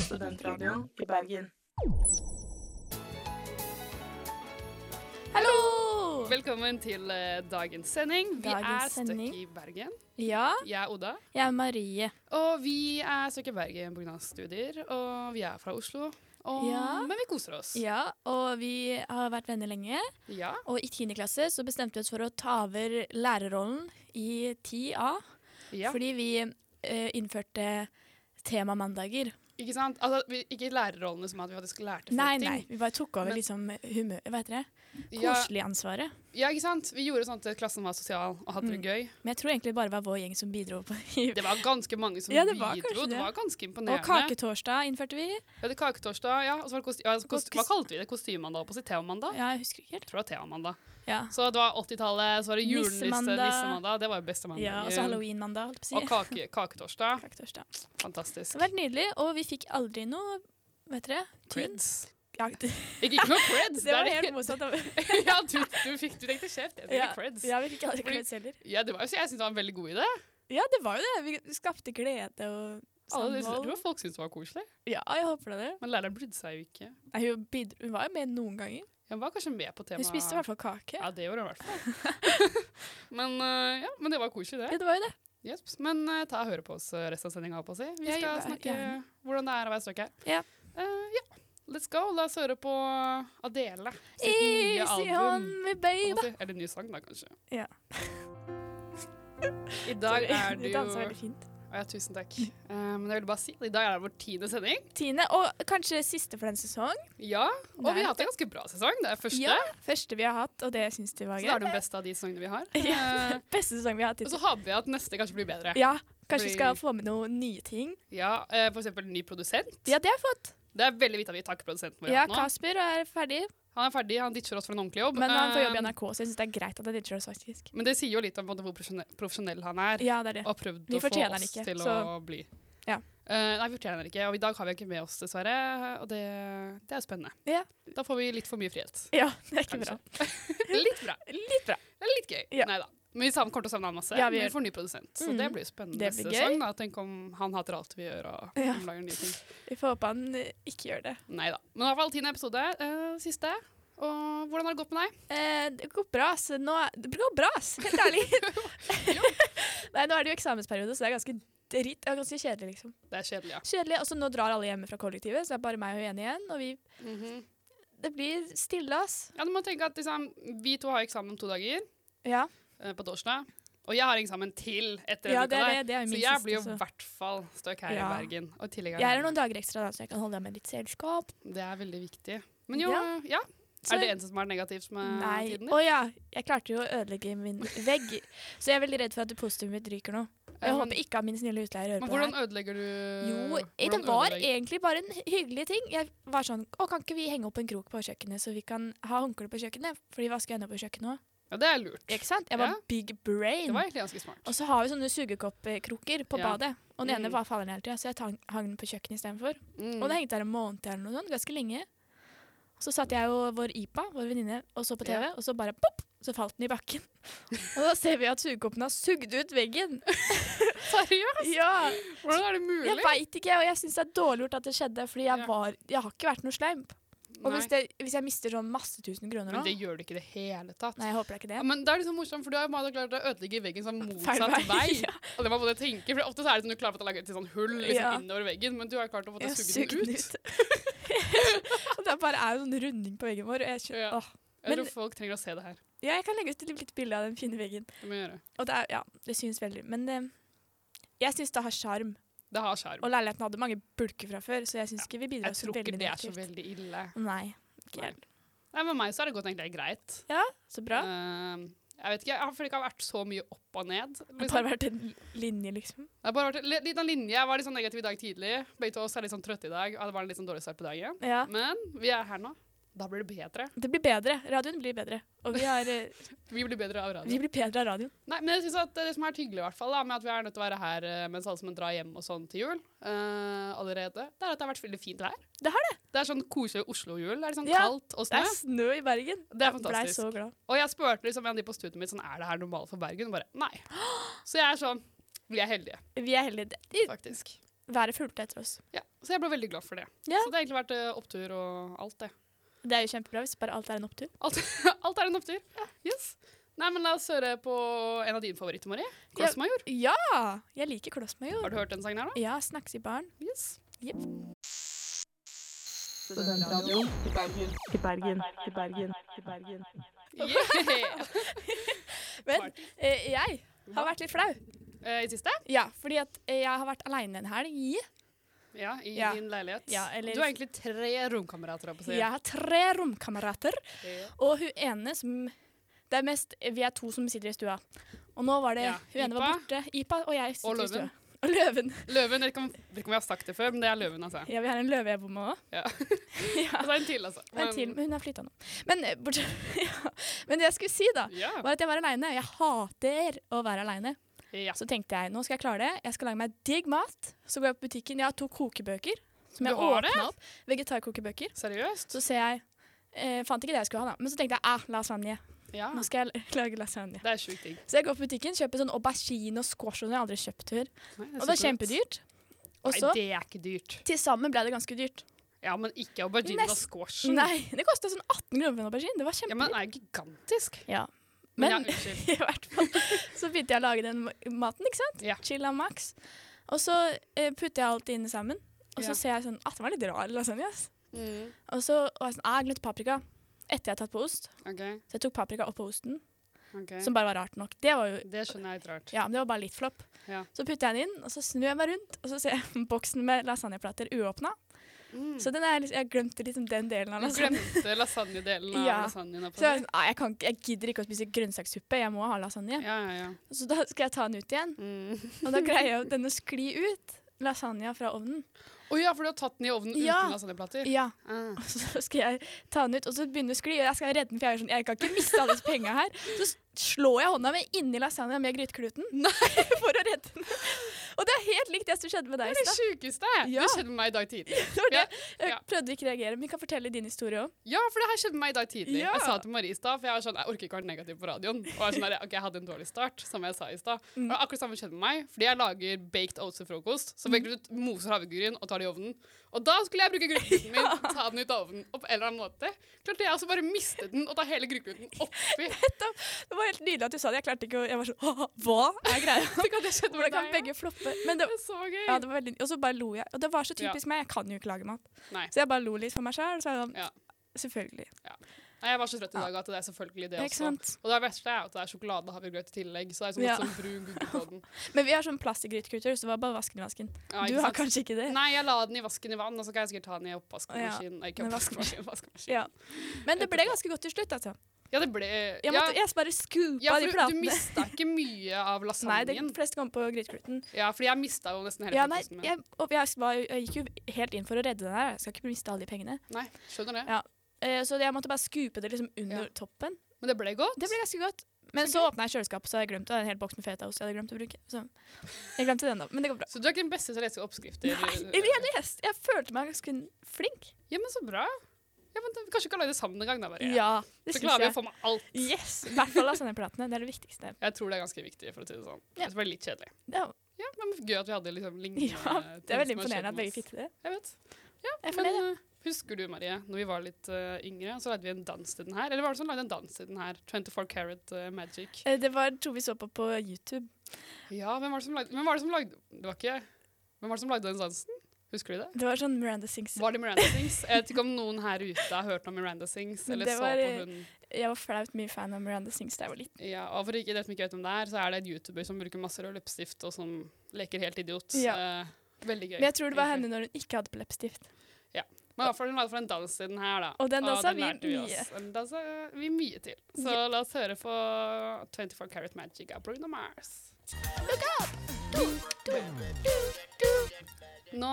Studentradioen i Bergen. Hallo! Velkommen til eh, dagens sending. Vi Dagens er støkk sending. i Bergen. Ja, Jeg er Oda, jeg er Marie. og vi er støkk i Bergen pga. studier. Og vi er fra Oslo, og, Ja. men vi koser oss. Ja, og vi har vært venner lenge. Ja. Og i 10. klasse så bestemte vi oss for å ta over lærerrollen i 10A. ja. Fordi vi eh, innførte temamandager. Ikke sant? Altså, vi, ikke lærerrollene som at vi faktisk lærte folk Nei, ting. nei, vi bare tok over Men- liksom humør... Hva heter det? Ja, Koselig-ansvaret. ja, ikke sant? Vi gjorde sånn at klassen var sosial og hadde det gøy. Men jeg tror egentlig det bare var vår gjeng som bidro. på Det var ganske mange som Ja, det var kanskje bidro. det. Det var ganske Og imponerende. kaketorsdag innførte vi. Vi hadde kaketorsdag, ja. Og så var det kosti ja, så kost Kost- hva kalte vi det? Kostymemandag? På sitt temamandag? Ja, jeg husker ikke helt. Jeg tror det var temamandag. Ja. Så det var 80-tallet, så var det julenisse, Nissemandag. nissemandag. Det var jo beste mandagen. ja og så halloweenmandag, holdt Og jeg på å si. kake, kaketorsdag. Kaketorsdag. Fantastisk. Det har vært nydelig, og vi fikk aldri noe Vet dere? Tyn. Creds. Ja, det, Ikke, ikke noe creds. det var det er helt motsatt. av- ja, du, du, fikk, du tenkte kjeft. Jeg tenkte Ja, creds. Ja. ja, vi fikk aldri creds heller. det var, jo- så jeg synes det var en veldig god idé. Ja, det var jo det. Vi skapte glede og Alle, jeg tror samhold. folk syntes det var koselig. Ja, jeg håper det. Men læreren brydde seg jo ikke. Nei, hun, bidro, hun var jo med noen ganger. Hun var kanskje med på temaet. Hun spiste i hvert fall kake. Ja, det gjorde hun i hvert fall. men, eh, ja, men det var koselig, det. Ja, det var jo det. Yes. Men eh, ta og høre på oss eh, resten av sendinga. Vi Ja, skal gjør det, snakke gjerne. hvordan det er å være støkk her. Ja. Eh, ja. Let's go. La oss høre på Adele. sitt nye Easy album. on me, babe. Kan man si- Eller ny sang, da, kanskje. Ja. I dag er Du det jo danser veldig fint. Å ja, tusen takk. Eh, men jeg ville bare si at i dag er det vår tiende sending. Tiende, og kanskje siste for den sesong. Ja, Og vi Nei. har hatt en ganske bra sesong. Det er første. Ja, første vi har hatt, og det syns de var Så det er gøy. den beste av de sesongene vi har. Ja, Eh, beste sesong vi har hatt og så hittil. håper vi at neste kanskje blir bedre. Ja, kanskje vi skal Fordi- få med noen nye ting. Ja, eh, for eksempel ny produsent. Ja, det har jeg fått. Det er veldig viktig at vi takker produsenten vår. Ja, nå. Kasper er ferdig, Han er ferdig, han ditcher oss for en ordentlig jobb. men han får jobb i Eh, NRK, så jeg syns det er greit at han ditcher oss, faktisk. Men det sier jo litt om på en måte, hvor profesjonell, profesjonell han er. Ja, det er det. og har prøvd Vi å få fortjener oss den ikke, til å så- bli. Ja. Eh, nei, vi fortjener den ikke, og i dag har vi ikke med oss, dessverre. Og det, det er spennende. Ja. Da får vi litt for mye frihet. Ja, det er ikke bra. Litt bra. Litt bra. Det er litt gøy. Ja. Nei da. Men vi savner- kommer til å savne han masse. Ja, vi vi, gjør. får ny produsent, så Mhm. det blir jo spennende Det blir neste gøy. sesong. da. Tenk om han hater alt vi gjør og Ja. lager nye ting. Vi får håpe han eh, ikke gjør det. Nei da. Men i hvert fall tiende episode. eh, siste. Og hvordan har det gått med deg? Eh, det går bra, ass. Nå, det går bra, ass. Helt ærlig. Nei, nå er det jo eksamensperiode, så det er ganske dritt. Det er ganske kjedelig, liksom. Det er kjedelig, ja. Kjedelig, og så nå drar alle hjemme fra kollektivet, så det er bare meg og Jenny igjen. Og vi Mm-hmm. Mhm. Det blir stille, ass. ja du må tenke at liksom, Vi to har eksamen om to dager Ja. eh, på torsdag. Og jeg har eksamen til etter Ja, en uke det er der. det. Det er jo Så min jeg siste, blir jo så- i hvert fall støkk her Ja. i Bergen. Og i tillegg Jeg er her noen dager ekstra, da, så jeg kan holde deg med litt selskap. Det er veldig viktig. Men jo, ja. Ja. Så- Er det eneste som er negativt med Nei. tiden Å ja, jeg klarte jo å ødelegge min vegg, så jeg er veldig redd for at det positive mitt ryker nå. Eh, Jeg men- håper ikke at min snille utleier hører på Men det hvordan her. ødelegger du Jo, eh, det hvordan var ødelegger- egentlig bare en hyggelig ting. Jeg var sånn Å, kan ikke vi henge opp en krok på kjøkkenet, så vi kan ha håndkle på kjøkkenet? For de vasker henne på kjøkkenet òg. Ja, det er lurt. Ikke sant? Jeg var Ja. big Det brain. var egentlig ganske smart. Og så har vi sånne sugekoppkrukker på Ja. badet. Og den ene Mm. bare faller ned hele tida, så jeg tang- hang den på kjøkkenet istedenfor. Mm. Og det hengte der en måned eller noe sånt, ganske lenge. Og så satt jeg og vår IPA, vår venninne, og så på TV, Ja. og så bare pop, så falt den i bakken. og da ser vi at sugekoppen har sugd ut veggen. Seriøst? ja, Hvordan er det mulig? Jeg veit ikke, og jeg syns det er dårlig gjort at det skjedde, fordi jeg, Ja. var, jeg har ikke vært noe sleim. Og Nei, hvis, det, hvis jeg mister sånn masse tusen kroner Men nå det gjør du ikke i det hele tatt. Nei, jeg håper det er ikke det. Ja, men det er liksom morsomt, for du har jo bare klart å ødelegge veggen sånn motsatt Feil vei. vei, ja. Og det må både tenke, for Ofte så er det sånn du klarer å lage et sånn hull liksom, Ja. innover veggen, men du har klart å få Jeg det har suget sugd den den ut. ut. og det bare er jo sånn runding på veggen vår. Og jeg, skjønner, Ja. åh. Jeg Men- tror folk trenger å se det her. ja, jeg kan legge ut et lite bilde av den fine veggen. Det må jeg gjøre. Og det, er, ja, det syns veldig. Men eh, jeg syns det har sjarm. Det har sjarm. Og leiligheten hadde mange bulker fra før, så jeg syns ikke vi bidrar Jeg så tror ikke veldig det er så negativt. veldig ille. Nei. Ikke Nei. helt. Nei, Med meg så har det gått egentlig greit. Ja, så bra. Eh, jeg vet ikke, jeg har for det ikke har vært så mye opp og ned. Det har Liksom. bare vært en linje, liksom. Det har bare vært en li- liten linje. Jeg var litt sånn negativ i dag tidlig. Begge to oss er litt sånn trøtte i dag. og Det var en litt sånn dårlig start på dagen. Ja. Men vi er her nå. Da blir det bedre. Det blir bedre. Radioen blir bedre. Og vi, har, eh, Vi blir bedre av vi radio. blir bedre av radioen. Nei, men jeg synes at det som er hyggelig, i hvert fall, da, med at vi er nødt til å være her eh, mens alle sammen drar hjem og sånn til jul eh, allerede, det er at det har vært veldig fint vær. Det har det. Det er sånn koselig Oslo-jul. Det er litt sånn Ja, kaldt og Det snø. er snø i Bergen. Det er Jeg Blei fantastisk. så glad. Og jeg spurte liksom en av de på studiet mitt sånn, er det her normalt for Bergen. Og bare nei. Så jeg er sånn Vi er heldige, Vi er heldige. Det- faktisk. Været fulgte etter oss. Ja, så jeg ble veldig glad for det. Ja. Så det har egentlig vært eh, opptur og alt, det. Det er jo kjempebra hvis bare alt er en opptur. Alt, alt er en opptur. Yes. Nei, men la oss høre på en av dine favoritter, Marie. Ja. Klossmajor. Ja! Jeg liker Klossmajor. Har du hørt den sangen her, da? Ja, snakkes i baren. Yes. Studentradioen i Bergen. I Bergen. I Bergen. I Bergen. Yeah. Men eh, jeg har vært litt flau. Eh, I siste? Ja, fordi at eh, jeg har vært aleine en helg. Ja, i Ja. din leilighet. Ja, eller- Du har egentlig tre romkamerater, holdt jeg Jeg har tre romkamerater, på å si. og hun ene som Det er mest eh, vi er to som sitter i stua. Og nå var det Ja, Hun ene var Ipa. borte. Ipa og jeg sitter Og i stua. løven. Og løven. Løven, jeg vet ikke om- jeg vet ikke om jeg har sagt det før, men det er løven, altså. Ja, vi har en løve jeg bor med òg. Ja. ja. Og så er en til, altså. En til, men hun har flytta nå. Men, eh, bortsett, ja. men det jeg skulle si, da, Ja. var at jeg var aleine. Jeg hater å være aleine. ja. Så tenkte jeg nå skal jeg klare det. Jeg skal lage meg digg mat. Så går jeg på butikken. Jeg har to kokebøker som Du jeg har det? åpna opp. Vegetarkokebøker. Seriøst? Så ser jeg eh, Fant ikke det jeg skulle ha, da. Men så tenkte jeg ah, lasagne. Ja. Nå skal jeg l- lage lasagne. Det er sjukt digg. Så jeg går på butikken, kjøper sånn aubergine og squash og sånn jeg har aldri kjøpt før. Nei, Og det er så godt. kjempedyrt. Og Nei, så det er ikke dyrt. til sammen ble det ganske dyrt. Ja, men ikke aubergine og Nest- squashen. Nei, det kosta sånn 18 kroner for en aubergine. Det var Mm. Ja, kjempedyrt. men den er jo gigantisk. Ja. Men Men, ja, unnskyld. i hvert fall så begynte jeg å lage den ma- maten, ikke sant? Ja. Chilla max. Og så eh, putter jeg alt inne sammen. Og så Ja. ser jeg sånn at den var litt rar lasagne. ass. Og så var jeg sånn, ah, jeg glemte paprika. Etter jeg har tatt på ost. OK. Så jeg tok paprika oppå osten, ok. som bare var rart nok. Det var jo Det skjønner jeg er litt rart. Ja, men det var bare litt flopp. Ja. Så putter jeg den inn, og så snur jeg meg rundt, og så ser jeg boksen med lasagneplater uåpna. Mm. Så den er, liksom- jeg glemte liksom den delen av Du lasagne. glemte lasagnedelen av Ja. lasagnen. Så jeg, var sånn, «Nei, jeg, kan, ikke- jeg gidder ikke å spise grønnsakssuppe, jeg må ha lasagne. Ja, ja, ja. Så da skal jeg ta den ut igjen, Mm. og da greier jeg den å skli ut. Lasagna fra ovnen. Å ja, for du har tatt den i ovnen Ja. uten lasagneplater? Ja, Ah. og så skal jeg ta den ut, og så begynner den å skli, og jeg skal redde den, for jeg er sånn, jeg kan ikke miste alle disse pengene her. Så s- slår jeg hånda mi inni lasagna med grytekluten for å redde den. Og det er helt likt det som skjedde med deg i Det er stad. det sjukeste! Ja. Det skjedde med meg i dag tidlig. Det var det. Jeg Ja. prøvde ikke å reagere, men vi kan fortelle din historie òg. Ja, for det her skjedde med meg i dag tidlig. Ja. Jeg sa til Marie i stad, for jeg var sånn, jeg orker ikke å være negativ på radioen. Og jeg, var sånn, der, ok, jeg hadde en dårlig start, som jeg sa i stad. Mm. Og det var akkurat samme skjedde med meg, fordi jeg lager baked oats til frokost. Så baker du ut moser havregryn og tar det i ovnen. Og da skulle jeg bruke grytekluten min, ta den ut av ovnen. Og på en eller annen måte klarte jeg også bare å miste den og ta hele grytekluten oppi. Det var helt nydelig at du sa det. Jeg klarte ikke å Jeg var sånn «Haha, Hva er greia? Tenk at det skjedde Hvordan med kan deg. ja. begge floppe? Men det, Det er så gøy. ja, det var veldig, og så bare lo jeg. Og det var så typisk meg. Jeg kan jo ikke lage mat. Nei. Så jeg bare lo litt for meg sjøl. Så jeg sånn, Ja. Selvfølgelig. Nei, jeg var så trøtt i dag at det er selvfølgelig det Ikke også. sant? Og det verste er at det er sjokolade og havregrøt i tillegg, så det er sånn Ja. litt sånn brun gugge på den. Men vi har sånn plastikkgrytekrutter, så det var bare vasken i vasken. Ja, Du ikke har sant? kanskje ikke det? Nei, jeg la den i vasken i vann, og så kan jeg sikkert ta den i oppvaskmaskinen. Nei, ikke Nei, oppvaskmaskin, vaskemaskin. Ja. Men det ble ganske godt til slutt, altså. Ja, det ble Jeg, ja, måtte, jeg bare scoopa ja, de for du, du platene. mista ikke mye av Nei, de lasagnen. fleste kom på grytekluten. Ja, fordi jeg mista jo nesten hele Ja, nei, frokosten min. jeg, og jeg, var, jo- jeg gikk jo helt inn for å redde den her. Jeg skal ikke miste alle de pengene. Nei, skjønner det. Ja. Eh, Så jeg måtte bare skupe det liksom under Ja. toppen. Men det ble godt. Det ble ganske godt. Men så åpna jeg kjøleskapet, så hadde jeg glemt det. En hel boks med fetaost jeg hadde glemt å bruke. Så jeg glemte den da, men det går bra. Så du er ikke den beste til å lese oppskrifter? Eller jeg leste, jeg følte meg ganske flink. Ja, men så bra. Ja, men da, Kanskje vi kan lage det sammen en gang, da, Marie. Ja, det syns så klarer vi å jeg. få med alt. Yes, I hvert fall lasagneplantene. Det er det viktigste. Jeg tror det er ganske viktig, for å si det sånn. Ja. Det ble litt kjedelig. Ja, Ja, men gøy at vi hadde liksom lignende ja, det ting er veldig som har skjedd imponerende at med begge oss. fikk til det. Jeg vet. Jeg er Men fornøyd. ja. eh, husker du, Marie, når vi var litt eh, yngre, så lagde vi en dans til den her? Eller var det som lagde en dans til den her? 24 Carat eh, Magic. Eh, Det var to vi så på på YouTube. Ja, hvem var det som lagde Hvem var det som lagde Det var ikke jeg. Hvem var det som lagde den dansen? Husker du det? Det var sånn Miranda Sings. Var det Miranda Sings? Jeg vet ikke om noen her ute har hørt om Miranda Sings, eller Det så var, på eh, hun. Jeg var flaut mye fan av Miranda Sings da jeg var liten. Ja, og for ikke det som ikke vet om det er, så er det en YouTuber som bruker masse rød leppestift, og som leker helt idiot. Eh, veldig gøy. Men jeg tror det var egentlig. henne når hun ikke hadde på leppestift. Men i hvert fall hun lagde for en dans i den her, da. Og den dansa vi lærte mye. oss. Den dansa vi mye til. Så la oss høre på 24 Carat Magic av Bruno Mars. Nå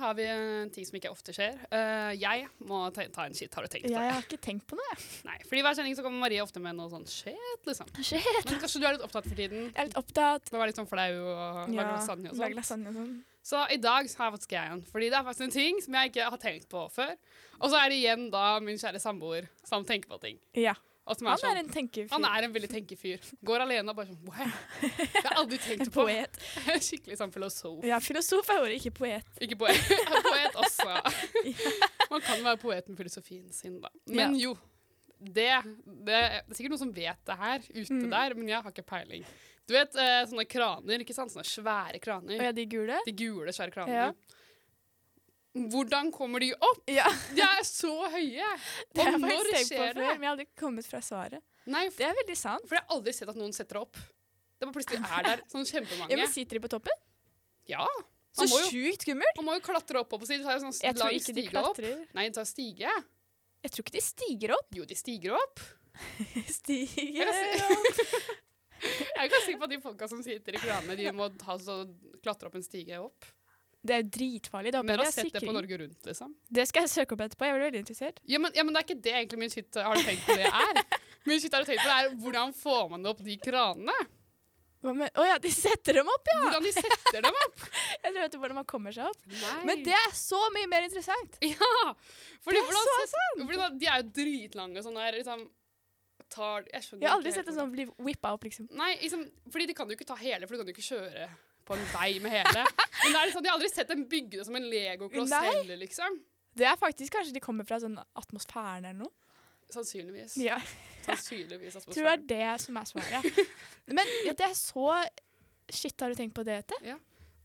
har vi en ting som ikke ofte skjer. Eh, jeg må ta, ta en shit, har du tenkt Jeg det? har ikke tenkt på noe, jeg. Nei, fordi hver sending så kommer Marie ofte med noe sånn shit, liksom. Men kanskje du er litt opptatt for tiden? Jeg er litt opptatt. Du er litt sånn flau og lager lasagne og lager sånn. lasagne og sånn. Så i dag så har jeg faktisk jeg en, fordi det er faktisk en ting som jeg ikke har tenkt på før. Og så er det igjen da min kjære samboer som tenker på ting. Ja. Og som er Han sånn, er en tenkefyr. han er en veldig tenkefyr. Går alene og bare sånn wow. Jeg har aldri tenkt en på poet. Skikkelig sånn filosof. Ja, filosof er ordet, ikke poet. Ikke poet, poet også. Man kan være poet med filosofien sin, da. Men jo. Det, det, det er sikkert noen som vet det her ute Mm. der, men jeg har ikke peiling. Du vet eh, sånne kraner, ikke sant? Sånne svære kraner. Og ja, de gule. De gule, svære kranene. Hvordan kommer de opp? Ja, De er så høye! det har Og jeg når faktisk tenkt på skjer før, det? men jeg har aldri kommet fra svaret. Nei, for, Det er veldig sant. for jeg har aldri sett at noen setter det opp. Det bare plutselig er der Ja, sånn men kjempemange. Sitter de på toppen? Ja, Så må jo- sjukt skummelt! Man må jo klatre opp og på siden, så er det Jeg sånn tror lang ikke de stige opp. klatrer. Nei, de tar stige. Jeg tror ikke de stiger opp. Jo, de stiger opp. Jeg Stiger er ganske- Jeg er ganske sikker på at de folka som sitter i kranene, de må ta så, klatre opp en stige opp. Det er jo dritfarlig. Det, Men håper har jeg sett det på sikring. Norge Rundt, liksom. det skal jeg søke opp etterpå. Jeg blir veldig interessert. Ja, men, ja, men det er ikke det egentlig min shit har du tenkt på det er. Min shit har du tenkt på det er hvordan får man opp de kranene? Hva med- Å ja, de setter dem opp, ja! Hvordan de setter dem opp? Jeg tror ikke hvordan man kommer seg opp. Nei. Men det er så mye mer interessant! Ja! Fordi Det er hvordan så set- hvordan- de er jo dritlange sånn der, liksom tar, Jeg skjønner Jeg har aldri ikke helt sett en sånn bli whippa opp, liksom. Nei, liksom, fordi de kan jo ikke ta hele, for du kan jo ikke kjøre på en vei med hele. Men det er liksom, De har aldri sett dem bygge det som en legokloss Nei. heller, liksom. Det er faktisk kanskje de kommer fra sånn atmosfæren eller noe. Sannsynligvis. Ja, Sannsynligvis altså, jeg at tror det er det som er svaret. Men ja, det er så Shit, har du tenkt på det, Ete?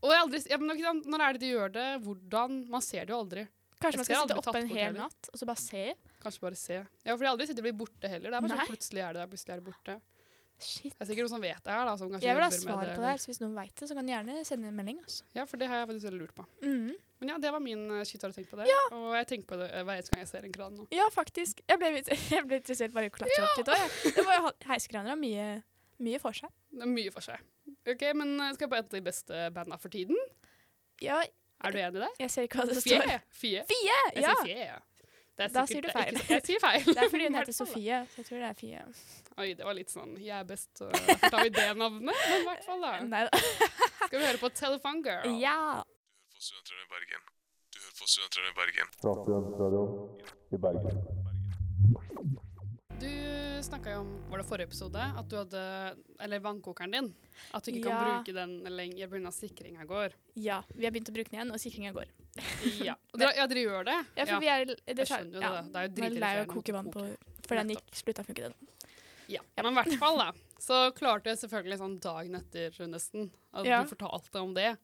Og jeg har aldri, ja, men ikke sant, Når er det de gjør det? Hvordan? Man ser det jo aldri. Kanskje Jeg man ser skal sitte aldri oppe tatt en bort hel heller. natt og så bare se? Kanskje bare se. Ja, For de har aldri sett det bli borte heller. Det er bare Nei. sånn, Plutselig er det der, plutselig er det borte. Shit. Det er sikkert noen som vet det her. da, som kanskje Jeg vil ha jobber med svaret på Altså, det her, så hvis noen veit det, så kan de gjerne sende en melding. Altså. Ja, for det har jeg faktisk veldig lurt på. Mhm. Men ja, det var min eh, shit. Har du tenkt på det? Og jeg tenker på det eh, hver eneste gang jeg ser en kran nå. Ja, faktisk. Jeg ble, litt- jeg ble interessert bare i å klatre opp litt òg. Heisekraner har mye, mye for seg. Det er mye for seg. Ok, men eh, Skal jeg på et av de beste banda for tiden? Ja, Er du enig der? jeg ser ikke hva det Fie? står. Fie? Fie! Jeg Ja! sier fie, ja. Det er Da sikkert- sier du det er feil. ikke- Jeg sier feil. Det er fordi hun I heter hvert fall, da. Sofie. Så jeg tror det er Fie. Oi, det var litt sånn Jeg er best, og hvorfor tar vi det navnet? Men i hvert fall, da. Nei da. Skal vi høre på Telephone Girl? Ja. Du hører på Studentradioen i Bergen. Du hører på Studentradioen i Bergen. Studentradioen i Bergen. Du snakka jo om var det forrige episode, at du hadde Eller vannkokeren din. At du Ja. ikke kan bruke den lenger pga. sikringa går. ja. Vi har begynt å bruke den igjen, og sikringa går. Ja, og dere, ja, dere gjør det? Ja, for vi er, det, Jeg skjønner jo det, da. Det er jo Man er lei av å dritirriterende å måtte koke vann på koke. For den gikk, slutta å funke, den. Ja, men i hvert fall da, så klarte jeg selvfølgelig sånn dagen etter nesten, at Ja. du fortalte om det.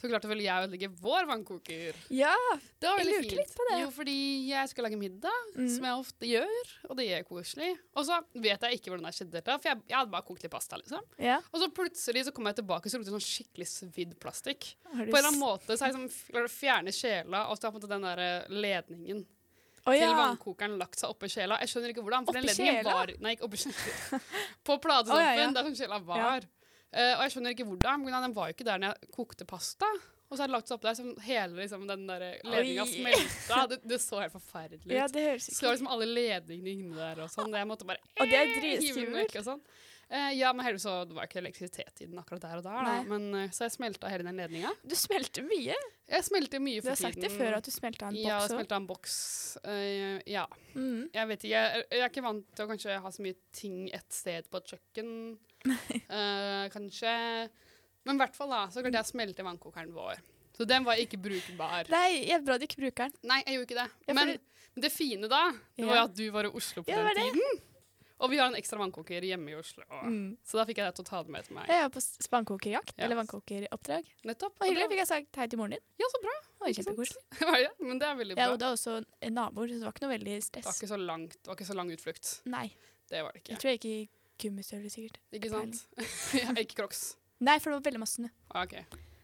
Så klarte vel jeg å legge vår vannkoker. Ja. Det var Jeg veldig lurte fint. litt på det. Jo, fordi jeg skal lage middag, som Mm. jeg ofte gjør, og det gjør koselig. Og så vet jeg ikke hvordan jeg skjedde dette, for jeg, jeg hadde bare kokt litt pasta, liksom. ja. Og så plutselig så kom jeg tilbake, så lukte det sånn skikkelig svidd plastikk. Har du På en eller s- annen måte så har jeg sånn, f- klart å fjerne sjela, og så har på en måte den der eh, ledningen Å, til ja. vannkokeren lagt seg oppå kjela. Jeg skjønner ikke hvordan. For den Oppi kjela? ledningen var Nei, ikke oppi kjela. På platestampen. Å, ja, ja. Der som kjela var. Eh, og jeg skjønner ikke hvordan. men Den var jo ikke der når jeg kokte pasta. Og så har det lagt seg oppå der, så hele liksom, den der ledninga Oi. smelta. Det, det så helt forferdelig ut. ja, det høres så var ikke ut. liksom alle ledningene inne der og sånn. Jeg måtte bare Og det er eh, hive den dritskummelt. vekk og sånn. Eh, ja, men heldigvis så det var ikke elektrisitet i den akkurat der og der. Da. Nei. Men, eh, så jeg smelta hele den ledninga. Du smelter mye. Jeg smelter mye Du for har sagt tiden. det før at du smelta en Ja, boks jeg òg. smelta en boks. Eh, ja. Mm. Jeg vet ikke, jeg, jeg er ikke vant til å kanskje ha så mye ting et sted på et kjøkken. Eh, kanskje. Men i hvert fall da, så klarte jeg å smelte vannkokeren vår. Så den var ikke brukbar. Nei, jeg er bra du ikke bruker den. Nei, jeg gjorde ikke det. Ja, for Men det- det fine da, det var jo Ja. at du var i Oslo på Ja, det Mm. den tiden. Og vi har en ekstra vannkoker hjemme i Oslo. Så da fikk jeg deg til å ta den med til meg. Jeg var på s- vannkokerjakt, Ja. eller vannkokeroppdrag. Nettopp. Og hyggelig det- fikk jeg sagt hei til moren din. Ja, så bra. Det var Ikke sant? kjempekoselig. Var det? Men det er veldig bra. Ja, og det var også en naboer, så det var ikke noe veldig det, var stress. ikke så langt, det var ikke så lang utflukt. Nei. Det var det Jeg ikke. tror jeg gikk i gummistøvler, sikkert. Ikke sant? jeg gikk i crocs. Nei, for det var veldig masse snø. Ah, ok.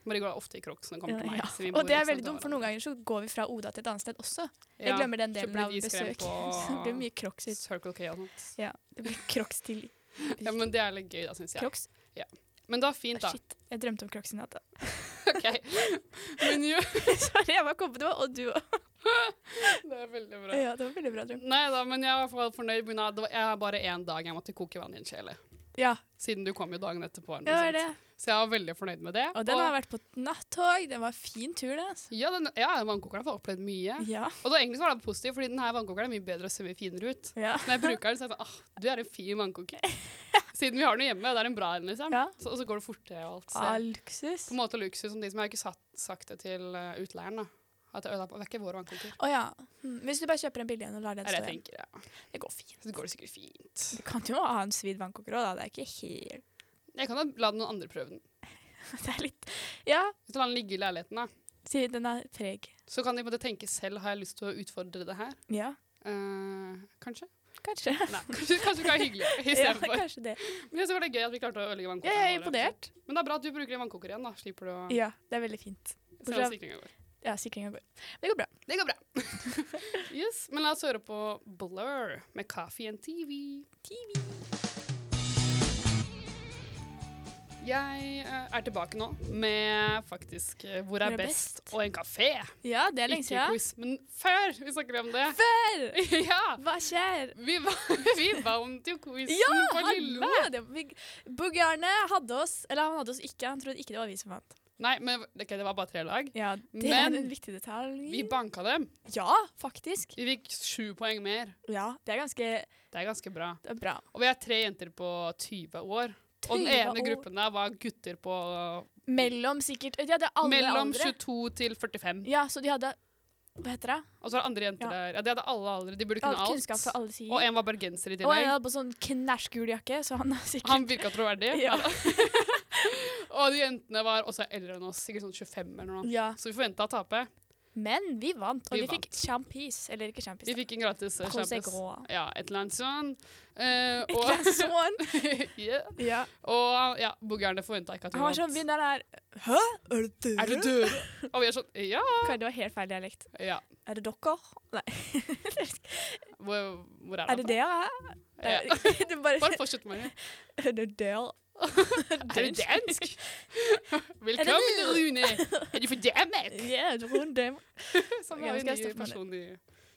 Marie går ofte i crocs når hun kommer til meg. Ja. så vi bor Og det er liksom veldig dumt, for der. noen ganger så går vi fra Oda til et annet sted også. Jeg Ja. glemmer den så delen blir av de skremt besøk. Så det blir mye crocs. ut. Circle K og sånt. Ja, det blir crocs til Ja, men det er litt gøy, da, syns jeg. crocs. Men det var fint, da. Ah, Shit, jeg drømte om crocs i natt. da. Ok. Men jo, Sorry, jeg bare kom på det, og du òg. det er veldig bra. Ja, det var en veldig bra drøm. Nei da, men jeg var i hvert fall fornøyd. men da- det var- Jeg har bare én dag jeg måtte koke vann i en kjele. Ja, siden du kom jo dagen etterpå. eller det noe var det. sånt. Så jeg var veldig fornøyd med det. Og den har jeg vært på et nattog. Den var en fin tur, det. Altså. ja, den, ja, vannkokeren har opplevd mye. Ja. Og da egentlig så var det positivt, fordi denne vannkokeren er mye bedre å se mye finere ut. ja. Når jeg bruker den, så er jeg sånn, ah, du er en fin vannkoker. Siden vi har den jo hjemme, og det er en bra en, liksom. Ja. Så, og så går det fortere og alt. Så. Ah, luksus. På en måte luksus som de som jeg har ikke satt, sagt det til eh, utleieren, da. At jeg ødela på, det er ikke vår vannkoker. Å ja. Hm, Hvis du bare kjøper en billig en og lar den Det er stå det jeg igjen. tenker, ja. Det går fint. Så går det sikkert fint. Du kan jo ha en svidd vannkoker òg, da. Det er ikke helt Jeg kan da la noen andre prøve den. Det er litt Ja, Hvis du lar den ligge i leiligheten, da, sier den er preg. så kan de på en måte tenke selv, har jeg lyst til å utfordre det her? Ja, Eh, kanskje? kanskje. Nei, kanskje, kanskje det kan være hyggelig i Ja, stedet for. kanskje det. Men jeg synes det var gøy at vi klarte å ødelegge vannkokeren. Jeg er vår. liksom. imponert. Men det er bra at du bruker en vannkoker igjen, da. Slipper du å Ja, det er veldig fint. se hvordan sikringen går. Ja, sikringa går. Det går bra. Det går bra. yes, men la oss høre på Blur med Coffee and TV. Jeg eh, er tilbake nå med faktisk eh, Hvor er, Hvor er best? best? og en kafé. Ja, det er lenge Ikke siden. quiz, men før vi snakker om det. Før! ja! Hva skjer? Vi, va- vi vant jo quizen Ja, på hallo! Lille. Det var- Buggarne hadde oss, eller han hadde oss ikke, han trodde ikke det var vi som vant. Nei, men ok, det var bare tre lag. Ja, det Men- er en viktig detalj. Vi banka dem. Ja, faktisk. Vi fikk sju poeng mer. Ja, det er ganske Det er ganske bra. det er bra. Og vi er tre jenter på 20 år. Og den 20 ene år. gruppen der var gutter på Mellom sikkert Ja, det er alle mellom aldre. 22 til 45. Ja, så de hadde Hva heter det? Og så var det andre jenter Ja. der. Ja, De hadde alle aldre. De burde All kunne alt. kunnskap fra alle sider. Og en var Og bergenser i en tillegg. hadde på sånn knæsjgul jakke, så han er sikkert Han virka troverdig. Ja. Og de jentene var også eldre enn oss, sikkert sånn 25 eller noe. ja. Så vi forventa å tape. Men vi vant, og vi, Vi fikk champis. Eller ikke champis. Vi fikk en gratis eh, Prosecco. champagne. Ja, et eller annet sånn. Eh, da. og, Glass one. yeah. sånn. ja. og ja, boogerne forventa ikke at vi Han var sånn vant. vinneren er Hæ? Er det dere? Er du død? Og vi er sånn Ja. Hva, det var helt feil dialekt. ja. Er det dere? Nei. Hvor, hvor er, Er det han dere? fra? Ja. Det er bare Bare fortsett med det. Er det dere? Er du dansk? Velkommen, Er Rune. Er du for dammet? Ja, det er dem. Som Ok, var nå skal jeg en ny stoppe meg person i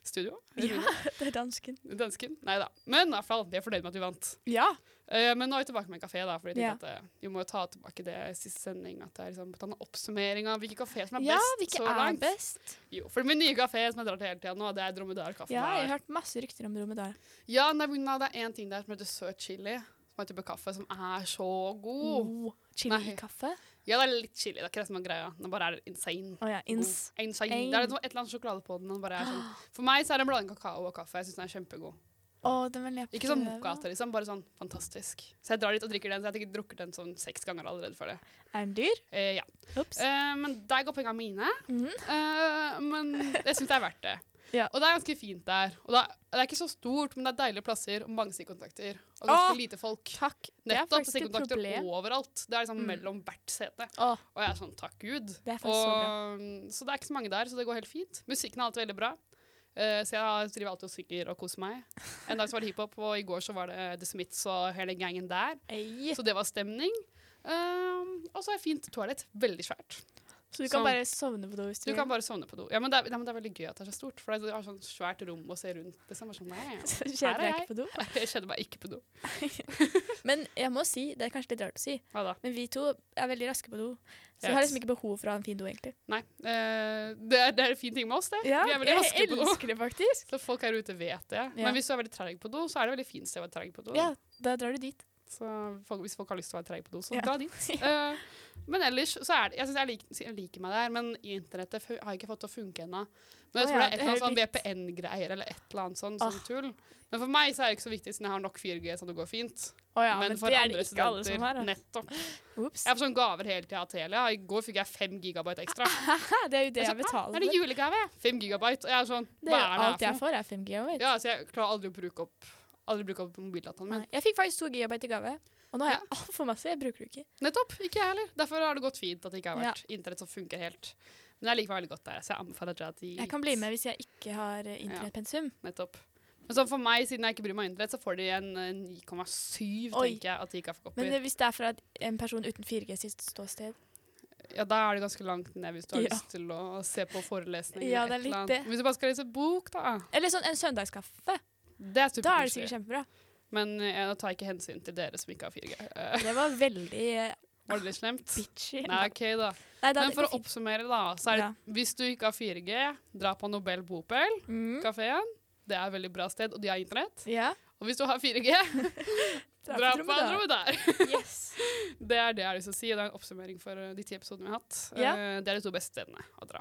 studio. Ja, Rune. det er dansken. Dansken. Nei da. Men i hvert fall, vi er fornøyd med at vi vant. Ja. Eh, men nå er vi tilbake med en kafé, da, for jeg Ja. tenkte at eh, vi må jo ta tilbake det i siste sending. At det er liksom, ta en oppsummering av hvilke kafé som er ja, best hvilke så er langt. best? Jo, for min nye kafé som jeg drar til hele tiden nå, det er Dromedarkaffen. Ja, jeg her. har hørt masse rykter om dromedar. ja nei, men det er én ting der som heter søt chili. Som er en type kaffe som er så god. Oh, Nei. Chili-kaffe? Ja, det er litt chili. Det er ikke det som er greia. Den bare er insane. Å ja, ins. God. Insane. Ein. Det er noe- et eller annet sjokolade på den. og den bare er sånn. For meg så er det en blanding av kakao og kaffe. Jeg synes den er kjempegod. Å, den vil jeg Ikke sånn prøve. mokkate, liksom. Bare sånn fantastisk. Så jeg drar dit og drikker den. Så jeg har ikke drukket den sånn seks ganger allerede før det. Er den dyr? Eh, ja. Ops. Eh, men der går pengene mine. Mhm. Eh, men jeg syns det er verdt det. Ja. Og det er ganske fint der. Og det er, det er ikke så stort, men det er deilige plasser og mange stikkontakter. Og ganske Åh, lite folk. Takk. Nettopp faktisk et stikkontakter problem. overalt. Det er liksom Mm. mellom hvert sete. Å, Og jeg er sånn, takk Gud. Det er faktisk og, så så det er ikke så mange der, så det går helt fint. Musikken er alltid veldig bra. Eh, så jeg har- driver alltid og synger og koser meg. En dag så var det hiphop, og i går så var det The Smiths og hele gangen der. ei. Så det var stemning. Um, og så er fint toalett. Veldig svært. Så du kan Sånn. bare sovne på do hvis du Du kan bare sovne på do. Ja, men det er, ja, men det er veldig gøy at det er så stort, for det er sånn svært rom å se rundt. Det er sånn, nei, Så Her Kjedelig er er ikke på do. jeg kjenner meg ikke på do. Men jeg må si, det er kanskje litt rart å si, Hva da? men vi to er veldig raske på do. Så Yes. jeg har liksom ikke behov for å ha en fin do, egentlig. Nei. eh, det, er, det er en fin ting med oss, det. Vi er veldig raske jeg på do. elsker det faktisk. Så folk her ute vet det. Ja. Men hvis du er veldig treig på do, så er det veldig fint sted å være treig på do. Ja, da drar du dit. Så folk, hvis folk har lyst til å være treige på do, så Ja. dra dit. Eh, men ellers så er det Jeg, synes jeg, liker, jeg liker meg der, men internettet fu- har jeg ikke fått til å funke ennå. Men jeg Å tror ja, det er det et eller annet hører sånn litt- VPN-greier eller et eller annet sånn, sånn Åh. tull. Men for meg så er det ikke så viktig, siden jeg har nok 4G, så det går fint. Å ja, men, men, for det er andre det ikke alle som har. studenter da. Nettopp. Ops. Jeg får sånne gaver hele tida av Telia. I går fikk jeg 5 gigabyte ekstra. Hæ, det er jo det jeg Jeg «Hæ, betaler altså, Er det for. julegave? 5 gigabyte. Og jeg er sånn Det Hva er jo er alt det her jeg for noe? får, er 5 GB. Ja, så jeg klarer aldri å bruke opp Aldri bruke opp mobildataen min. Jeg fikk faktisk 2 GB i gave, og nå har jeg altfor masse. Jeg bruker det ikke. Nettopp. Ikke jeg heller. Derfor har det gått fint at det ikke har Ja. vært internett som funker helt. Men jeg liker meg veldig godt der, så jeg anbefaler dere at de Jeg kan bli med hvis jeg ikke har eh, internettpensum. Nettopp. Men sånn for meg, siden jeg ikke bryr meg om internett, så får de en eh, Oi. 9,7, tenker jeg, at de ikke har fått Men opp i. eh, hvis det er fra et- en person uten 4G sitt ståsted Ja, da er det ganske langt ned hvis du har Ja. lyst til å se på forelesning Ja, det er eller et eller litt annet. det. Hvis du bare skal lese bok, da. Eller sånn en søndagskaffe. Det er Da er det superkoselig. sikkert kjempebra. Men jeg tar ikke hensyn til dere som ikke har 4G. Eh, Det var veldig eh, var det litt slemt? bitchy. Nei, OK, da. Nei, da- Men for det å går fint. oppsummere, da. Så er det, Ja. hvis du ikke har 4G, dra på Nobel Bopel, Mm. kafeen. Det er et veldig bra sted, og de har internett. Ja. Og hvis du har 4G, dra på Dromedar. Andromedar. Yes. Det er det jeg har lyst til å si. Det er en oppsummering for eh, de ti episodene vi har hatt. Ja. Eh, Det er de to beste stedene å dra.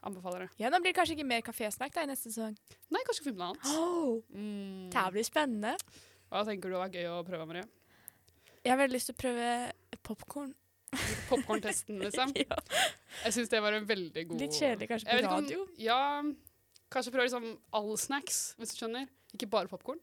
Anbefaler det. Ja, nå blir det kanskje ikke mer kafésnakk da i neste sesong. Nei, kanskje finne noe annet. Oh, Mm. det her blir spennende. Hva tenker du var gøy å prøve, Marie? Jeg har veldig lyst til å prøve popkorn. Popkorntesten, liksom. Ja. Jeg syns det var en veldig god Litt kjedelig kanskje på Jeg vet ikke om- radio. Ja, kanskje prøve liksom all snacks, hvis du skjønner. Ikke bare popkorn.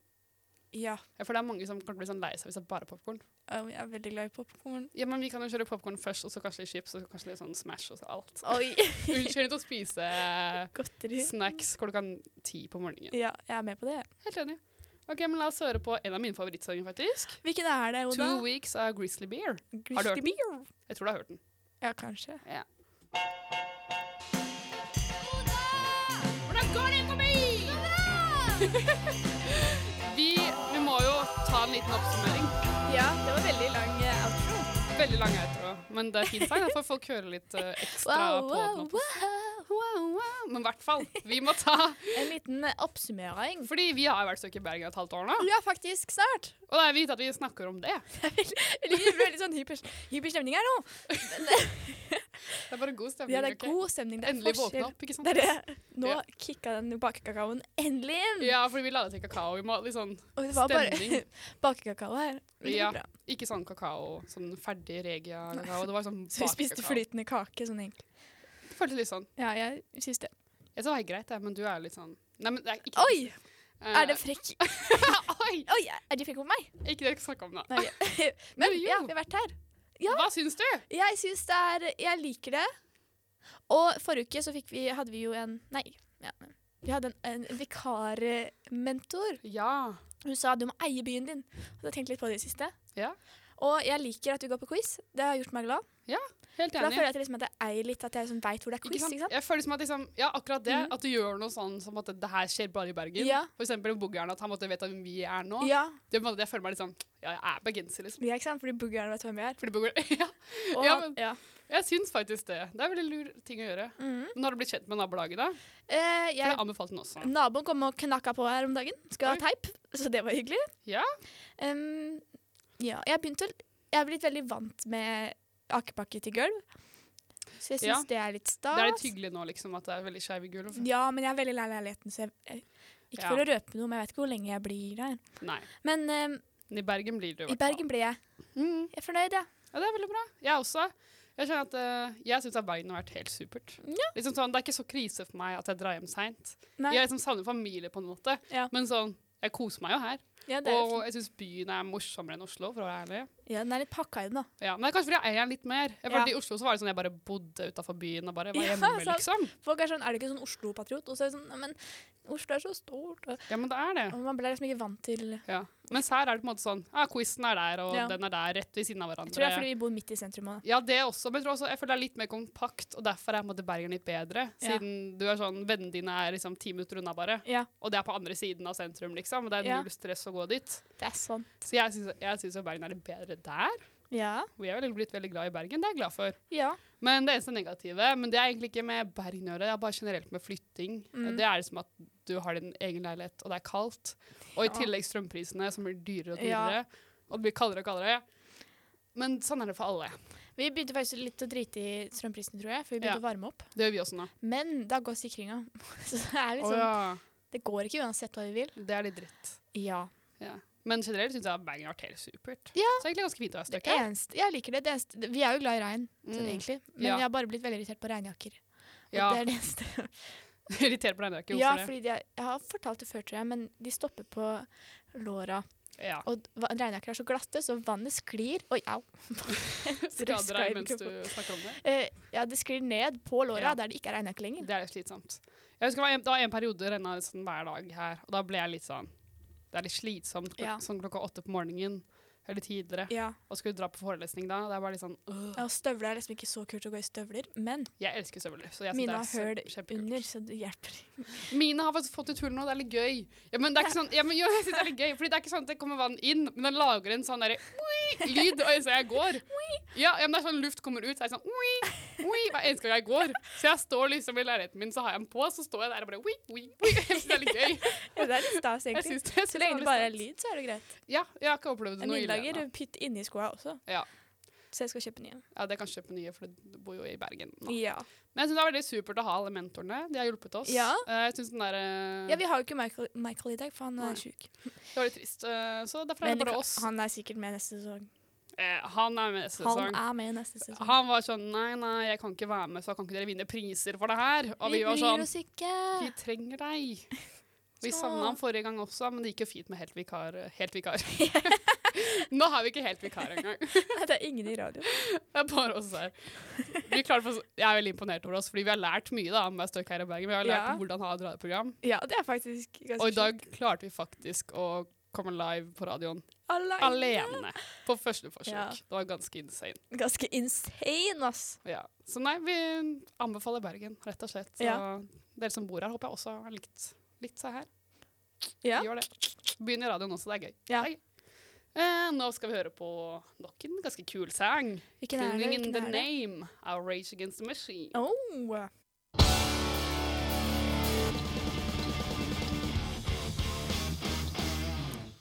Ja, For det er mange som kan bli sånn lei seg hvis det er bare popkorn. um, jeg er veldig glad i popkorn. Ja, men vi kan jo kjøre popkorn først, og så kanskje litt chips, og så kanskje litt sånn Smash og så alt. Oi, Unnskyld til å spise godteri. snacks klokka ti på morgenen. Ja, jeg er med på det. Helt enig. Ok, men La oss høre på en av mine favorittsanger, faktisk. Hvilken er det, Oda? Two Weeks av Grizzly Bear. Grizzly Har du hørt den? Bear. Jeg tror du har hørt den. Ja, kanskje. Hvordan går det for meg? vi, vi må jo ta en liten oppsummering. Ja, det var veldig lang eh, outro. Veldig lang outro, men det er fin sang. Da får folk høre litt eh, ekstra Wow, på wow, den. opp- Wow, wow. Men i hvert fall, vi må ta En liten eh, oppsummering. Fordi vi har vært stykket i Bergen et halvt år nå, Ja, faktisk snart. og det er vidt at vi snakker om det. Jeg liker veldig sånn hyper, hyper stemning her nå. Det er bare god stemning. Ja, det er ok? god stemning. Det er Endelig forskjell. våkne opp, ikke sant? Det er det. Mm. Nå Ja. kicka den bakekakaoen endelig inn. Ja, fordi vi lader til kakao. Vi må ha litt sånn Og det var bare Stemning. bakekakao her. Det var Ja. bra. Ikke sånn kakao, sånn ferdig regia-kakao. Det var sånn Så vi spiste bakekakao. flytende kake sånn egentlig. Det føltes litt sånn. Ja, jeg syns det. Jeg sa det var greit, jeg, men du er litt sånn Nei, men det er ikke Oi! Eh, Er det frekk? Oi! Oi, er de frekke på meg? Ikke det jeg snakke om, da. Nei. Men Jo, jo. ja, vi har vært her. Ja. Hva syns du? Jeg syns det er Jeg liker det. Og forrige uke så fikk vi Hadde vi jo en Nei. Ja. Vi hadde en, en vikarmentor. Ja. Hun sa du må eie byen din. Og jeg har tenkt litt på det i det siste. Ja. Og jeg liker at vi går på quiz. Det har gjort meg glad. Helt For da enig. føler jeg at jeg liksom at jeg eier litt, at jeg liksom veit hvor det er quiz. ikke sant? Jeg føler som at liksom, ja, akkurat det, Mhm. at du gjør noe sånn som at det her skjer bare i Bergen. Ja. For eksempel Boggern, at han måtte vite hvem vi er nå. Ja, Det er på en måte at jeg føler meg litt sånn Ja, jeg er bergenser, liksom. vi er ikke sant? Fordi boogeren vet hvem vi er. Fordi Boggern Ja. Og, Ja, men- ja. Jeg syns faktisk det. Det er veldig lur ting å gjøre. Mhm. Men har du blitt kjent med nabolaget, da? For Eh, jeg, det anbefalte den også. naboen kom og knakka på her om dagen. Skal ha Oi. teip, så det var hyggelig. Ja. Em, ja, jeg har begynt å Jeg har blitt veldig vant med akepakke til gulv. Så jeg syns Ja. det er litt stas. Det er litt hyggelig nå, liksom, at det er veldig skeive gulv. Ja, men jeg er veldig lei leiligheten, så jeg, jeg Ikke Ja. for å røpe noe, men jeg vet ikke hvor lenge jeg blir her. Nei. Men em, Men I Bergen blir det jo i Bergen ble jeg. Mhm. Jeg er fornøyd, jeg. Ja, det er veldig bra. Jeg også. Jeg kjenner at eh, jeg syns Bergen har vært helt supert. Liksom sånn, det er ikke så krise for meg at jeg drar hjem seint. Nei. Jeg liksom savner familie, på en måte. Ja. Men sånn, jeg koser meg jo her. Ja, det er jo Og fint. jeg syns byen er morsommere enn Oslo, for å være ærlig. ja, den er litt pakka i den, da. Ja, men det er kanskje fordi jeg eier den litt mer. Jeg Ja. følte I Oslo så var det sånn jeg bare bodde utafor byen og bare var Ja, hjemme, sant. liksom. Folk er sånn Er du ikke sånn Oslo-patriot? Og så er det sånn «Nei, Men Oslo er så stort. Og, Ja, men det er det. og man ble liksom ikke vant til Ja. Mens her er det på en måte sånn ah, Quizen er der, og Ja. den er der, rett ved siden av hverandre. Jeg tror det er fordi vi bor midt i sentrum òg. Ja, det også, men jeg, tror også, jeg føler det er litt mer kompakt, og derfor er på en måte Bergen litt bedre. Ja. Siden du er sånn, vennene dine er liksom ti minutter unna bare, Ja, og det er på andre siden av sentrum, liksom. Og det er Ja. null stress å gå dit. det er sånn. Så jeg syns, jeg syns jo Bergen er litt bedre der. Ja. Vi er vel blitt veldig glad i Bergen, det er jeg glad for. ja. Men det eneste negative, men det er egentlig ikke med Bergen å gjøre, det er bare generelt med flytting. Mm. Det er liksom at du har din egen leilighet, og det er kaldt. Og i Ja. tillegg strømprisene, som blir dyrere og Ja. dyrere. Og det blir kaldere og kaldere. Men sånn er det for alle. Vi begynte faktisk litt å drite i strømprisen, tror jeg, for vi begynte Ja. å varme opp. Det gjør vi også nå. Men da går sikringa. Så det er Å liksom ja. Det går ikke uansett hva vi vil. Det er litt dritt. Ja. Ja. Men generelt syns jeg Bergen har vært helt supert. Ja. Så det er egentlig ganske fint å være Det støkk her. eneste Jeg liker det. det eneste, det- vi er jo glad i regn, sånn Mm. egentlig. Men Ja. jeg har bare blitt veldig irritert på regnjakker. Og Ja. det er det eneste. Irritert på deg, det er ikke Ja, hvorfor det. fordi de, er- jeg har fortalt det før, tror jeg, men de stopper på låra. Ja. Og d- va- regnjakker er så glatte, så vannet sklir Oi, au. Skader skrei deg i mens du mikrofonen. snakker om det. Eh, ja, det sklir ned på låra, Ja. der det ikke er regnjakke lenger. Det er litt slitsomt. Jeg husker Det var en, det var en periode det renna sånn hver dag her, og da ble jeg litt sånn Det er litt slitsomt klok Ja. sånn klokka åtte på morgenen. Eller tidligere. Ja. Og skulle dra på forelesning da. Det er bare litt sånn øh. ja, og Støvler er liksom ikke så kult å gå i støvler, men Jeg elsker støvler. Så jeg synes mine har det er høl kjempe- kjempekult. under, så det hjelper. Mine har faktisk fått ut hull nå, det er litt gøy. Ja, men det er ikke sånn, ja, men, jo, jeg synes det er litt gøy, fordi det er ikke sånn at det kommer vann inn, men den lager en sånn derre «oi» lyd, og så jeg går. Ja, ja, men det er sånn luft kommer ut, så er det sånn oi, oi, hver eneste gang jeg går. Så jeg står liksom i leiligheten min, så har jeg den på, så står jeg der og bare oi, oi, oi. Jeg synes det er litt gøy. Ja, det er litt stas, Jeg egentlig. synes det, jeg synes Så lenge det det bare var er litt stas. lyd, så er det greit. Ja, jeg har ikke opplevd En noe ille innlager ennå. pytt inni skoa også, Ja. så jeg skal kjøpe nye. ja, det kan jeg kjøpe nye, for du bor jo i Bergen nå. Ja. Men jeg synes det er veldig supert å ha alle mentorene. De har hjulpet oss. Ja. Eh, Jeg synes den der, eh, ja, vi har jo ikke Michael, Michael i dag, for han Nei. er sjuk. det var litt trist. Eh, Så derfor er Men det det bare kan- oss. han er sikkert med neste sesong. Eh, Han er med neste sesong. Han er med neste sesong. Han var sånn Nei, nei, jeg kan ikke være med, så kan ikke dere vinne priser for det her. Og vi var bryr sånn oss ikke. Vi trenger deg. Vi Så- savna han forrige gang også, men det gikk jo fint med helt vikar. Helt vikar. Nå har vi ikke helt vikar engang. Nei, det er ingen i radio. Det er bare oss her. Vi klarer for, jeg er veldig imponert over oss, fordi vi har lært mye da, med Støkk her i Bergen. Vi har lært Ja. hvordan ha et radioprogram, Ja, det er faktisk ganske og i dag klarte vi faktisk å komme live på radioen Alene. alene. På første forsøk. Ja. Det var ganske insane. Ganske insane, ass. Ja. Så nei, vi anbefaler Bergen, rett og slett. Så Ja. dere som bor her, håper jeg også har likt, likt seg her. Ja. Gjør det. Begynn i radioen også, det er gøy. Ja. Hei. Eh, nå skal vi høre på nok en ganske kul sang. Hvilken er det? Tuning in Hvilken the er det? name av Rage Against the Machine. Oh.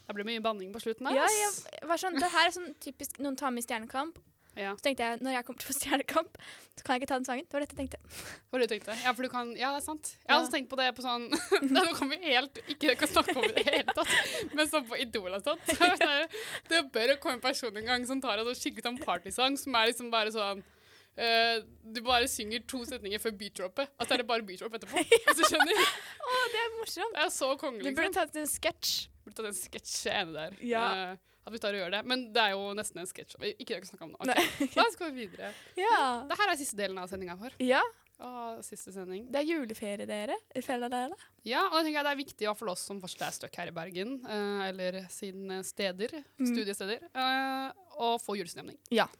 Det blir mye banning på slutten her. Ja, ass. jeg var sånn, det her er sånn typisk noen tar med i Stjernekamp. Ja. Så tenkte jeg når jeg kommer til å få Stjernekamp, så kan jeg ikke ta den sangen. Det var dette jeg tenkte. Hva var det du tenkte? Ja, for du kan, ja, det er sant. Jeg har Ja. også tenkt på det på sånn Nei, Nå kan vi helt ikke kan snakke om det i det hele tatt, men sånn på Idol og sånt. Så jeg var sånn her, det bør jo komme en person en gang som tar en sånn skikkelig sånn partysang som er liksom bare sånn eh, Du bare synger to setninger før beatdropet, og så er det bare beatdrop etterpå. Hvis du skjønner? Å, det er morsomt. Det er så konge, Vi burde liksom. tatt en sketsj. Burde tatt en sketsj ene der. Ja. Eh, at vi tar og gjør det. Men det er jo nesten en sketsj. Vi- Ikke det vi snakker om nå. Ok, Nei. Da skal vi videre. Ja. Dette er siste delen av sendinga vår. ja. Å, siste sending. Det er juleferie, dere. Ferie, dere. Ja, og jeg tenker at det er viktig i hvert fall oss som fortsatt er støkk her i Bergen, eh, eller sine steder, studiesteder, eh, å få julestemning. Mm. Ja.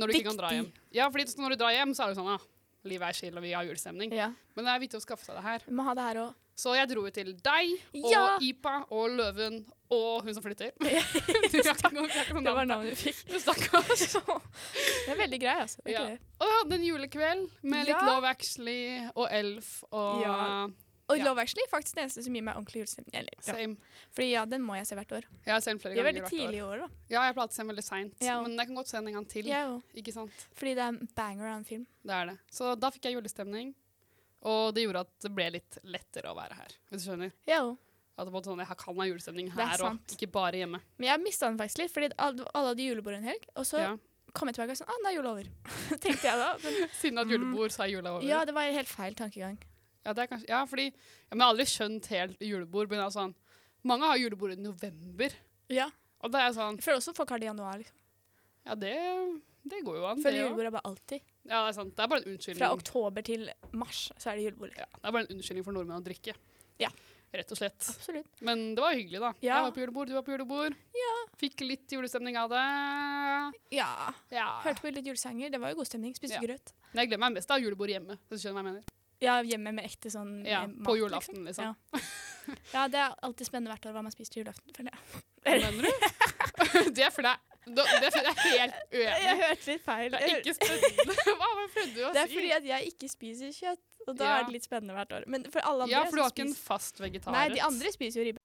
Når du ikke kan dra hjem. Viktig. Ja, fordi så når du drar hjem, så er det sånn, ah, livet er chill, og vi har julestemning. Ja. Men det er viktig å skaffe seg det her. Vi må ha det her òg. Så jeg dro jo til deg, og Ja. Ipa, og Løven, og hun som flytter. du har ikke noe, du har ikke noe Det var navn. navnet vi fikk. Du Stakkars. det er veldig grei, altså. Det er Ja. ikke det. Og vi hadde en julekveld med litt Ja. Love Actually, og Elf, og Ja. Og Ja. Love Actually er faktisk den eneste som gir meg ordentlig julestemning. Eller, ja. Same. Fordi ja, den må jeg se hvert år. Jeg har sett den flere Vi er ganger veldig hvert år. tidlig i år, da. Ja, jeg pleier alltid å se den veldig seint, Ja. men jeg kan godt se den en gang til. Jeg òg. Ikke sant? Fordi det er en banger av en film. Det er det. Så da fikk jeg julestemning, og det gjorde at det ble litt lettere å være her. Hvis du skjønner? Jeg òg. At det var sånn, Jeg kan ha julestemning er her òg, sant. ikke bare hjemme. Men jeg mista den faktisk litt, fordi alle, alle hadde julebord en helg. Og så Ja. kom jeg tilbake og sånn ah, nå er jula over. Tenkte jeg da. Men, Siden at julebord, så er jula over. Mm. ja, det var helt feil tankegang. Ja, det er kanskje, ja fordi ja, men Jeg har aldri skjønt helt julebord. Men det er sånn, mange har julebord i november, Ja. og da er jeg sånn Jeg føler også folk har det i januar. liksom. Ja, det, det går jo an. Føler det, Mm. julebord er bare alltid. ja. ja, det er sant. Det er bare en unnskyldning. Fra oktober til mars så er det julebord. ja, det er bare en unnskyldning for nordmenn å drikke. Ja. Rett og slett. Absolutt. Men det var hyggelig, da. Ja. Jeg var på julebord, du var på julebord. Fikk litt julestemning av det. Ja. Ja. Hørte på litt julesanger. Det var jo god stemning. Spiste Ja. grøt. Men jeg gleder meg mest av julebord hjemme. Hvis du skjønner hva jeg mener. Ja, hjemme med ekte sånn Ja, med på mat, julaften, liksom. Ja. ja, det er alltid spennende hvert år hva man spiser til julaften. føler jeg. Hva mener du? det føler jeg da- Det føler jeg er helt uenig. hørte litt feil. Det er ikke spennende. Hva hva prøvde du å si? Det er fordi at jeg ikke spiser kjøtt, og da Ja. er det litt spennende hvert år. Men for alle andre Ja, for du så har ikke en spiser- fast vegetarrett. Nei, de andre spiser jo ribbe.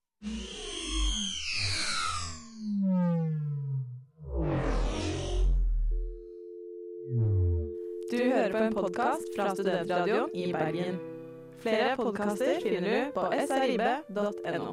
Du hører på en podkast fra Studentradioen i Bergen. Flere podkaster finner du på srib.no.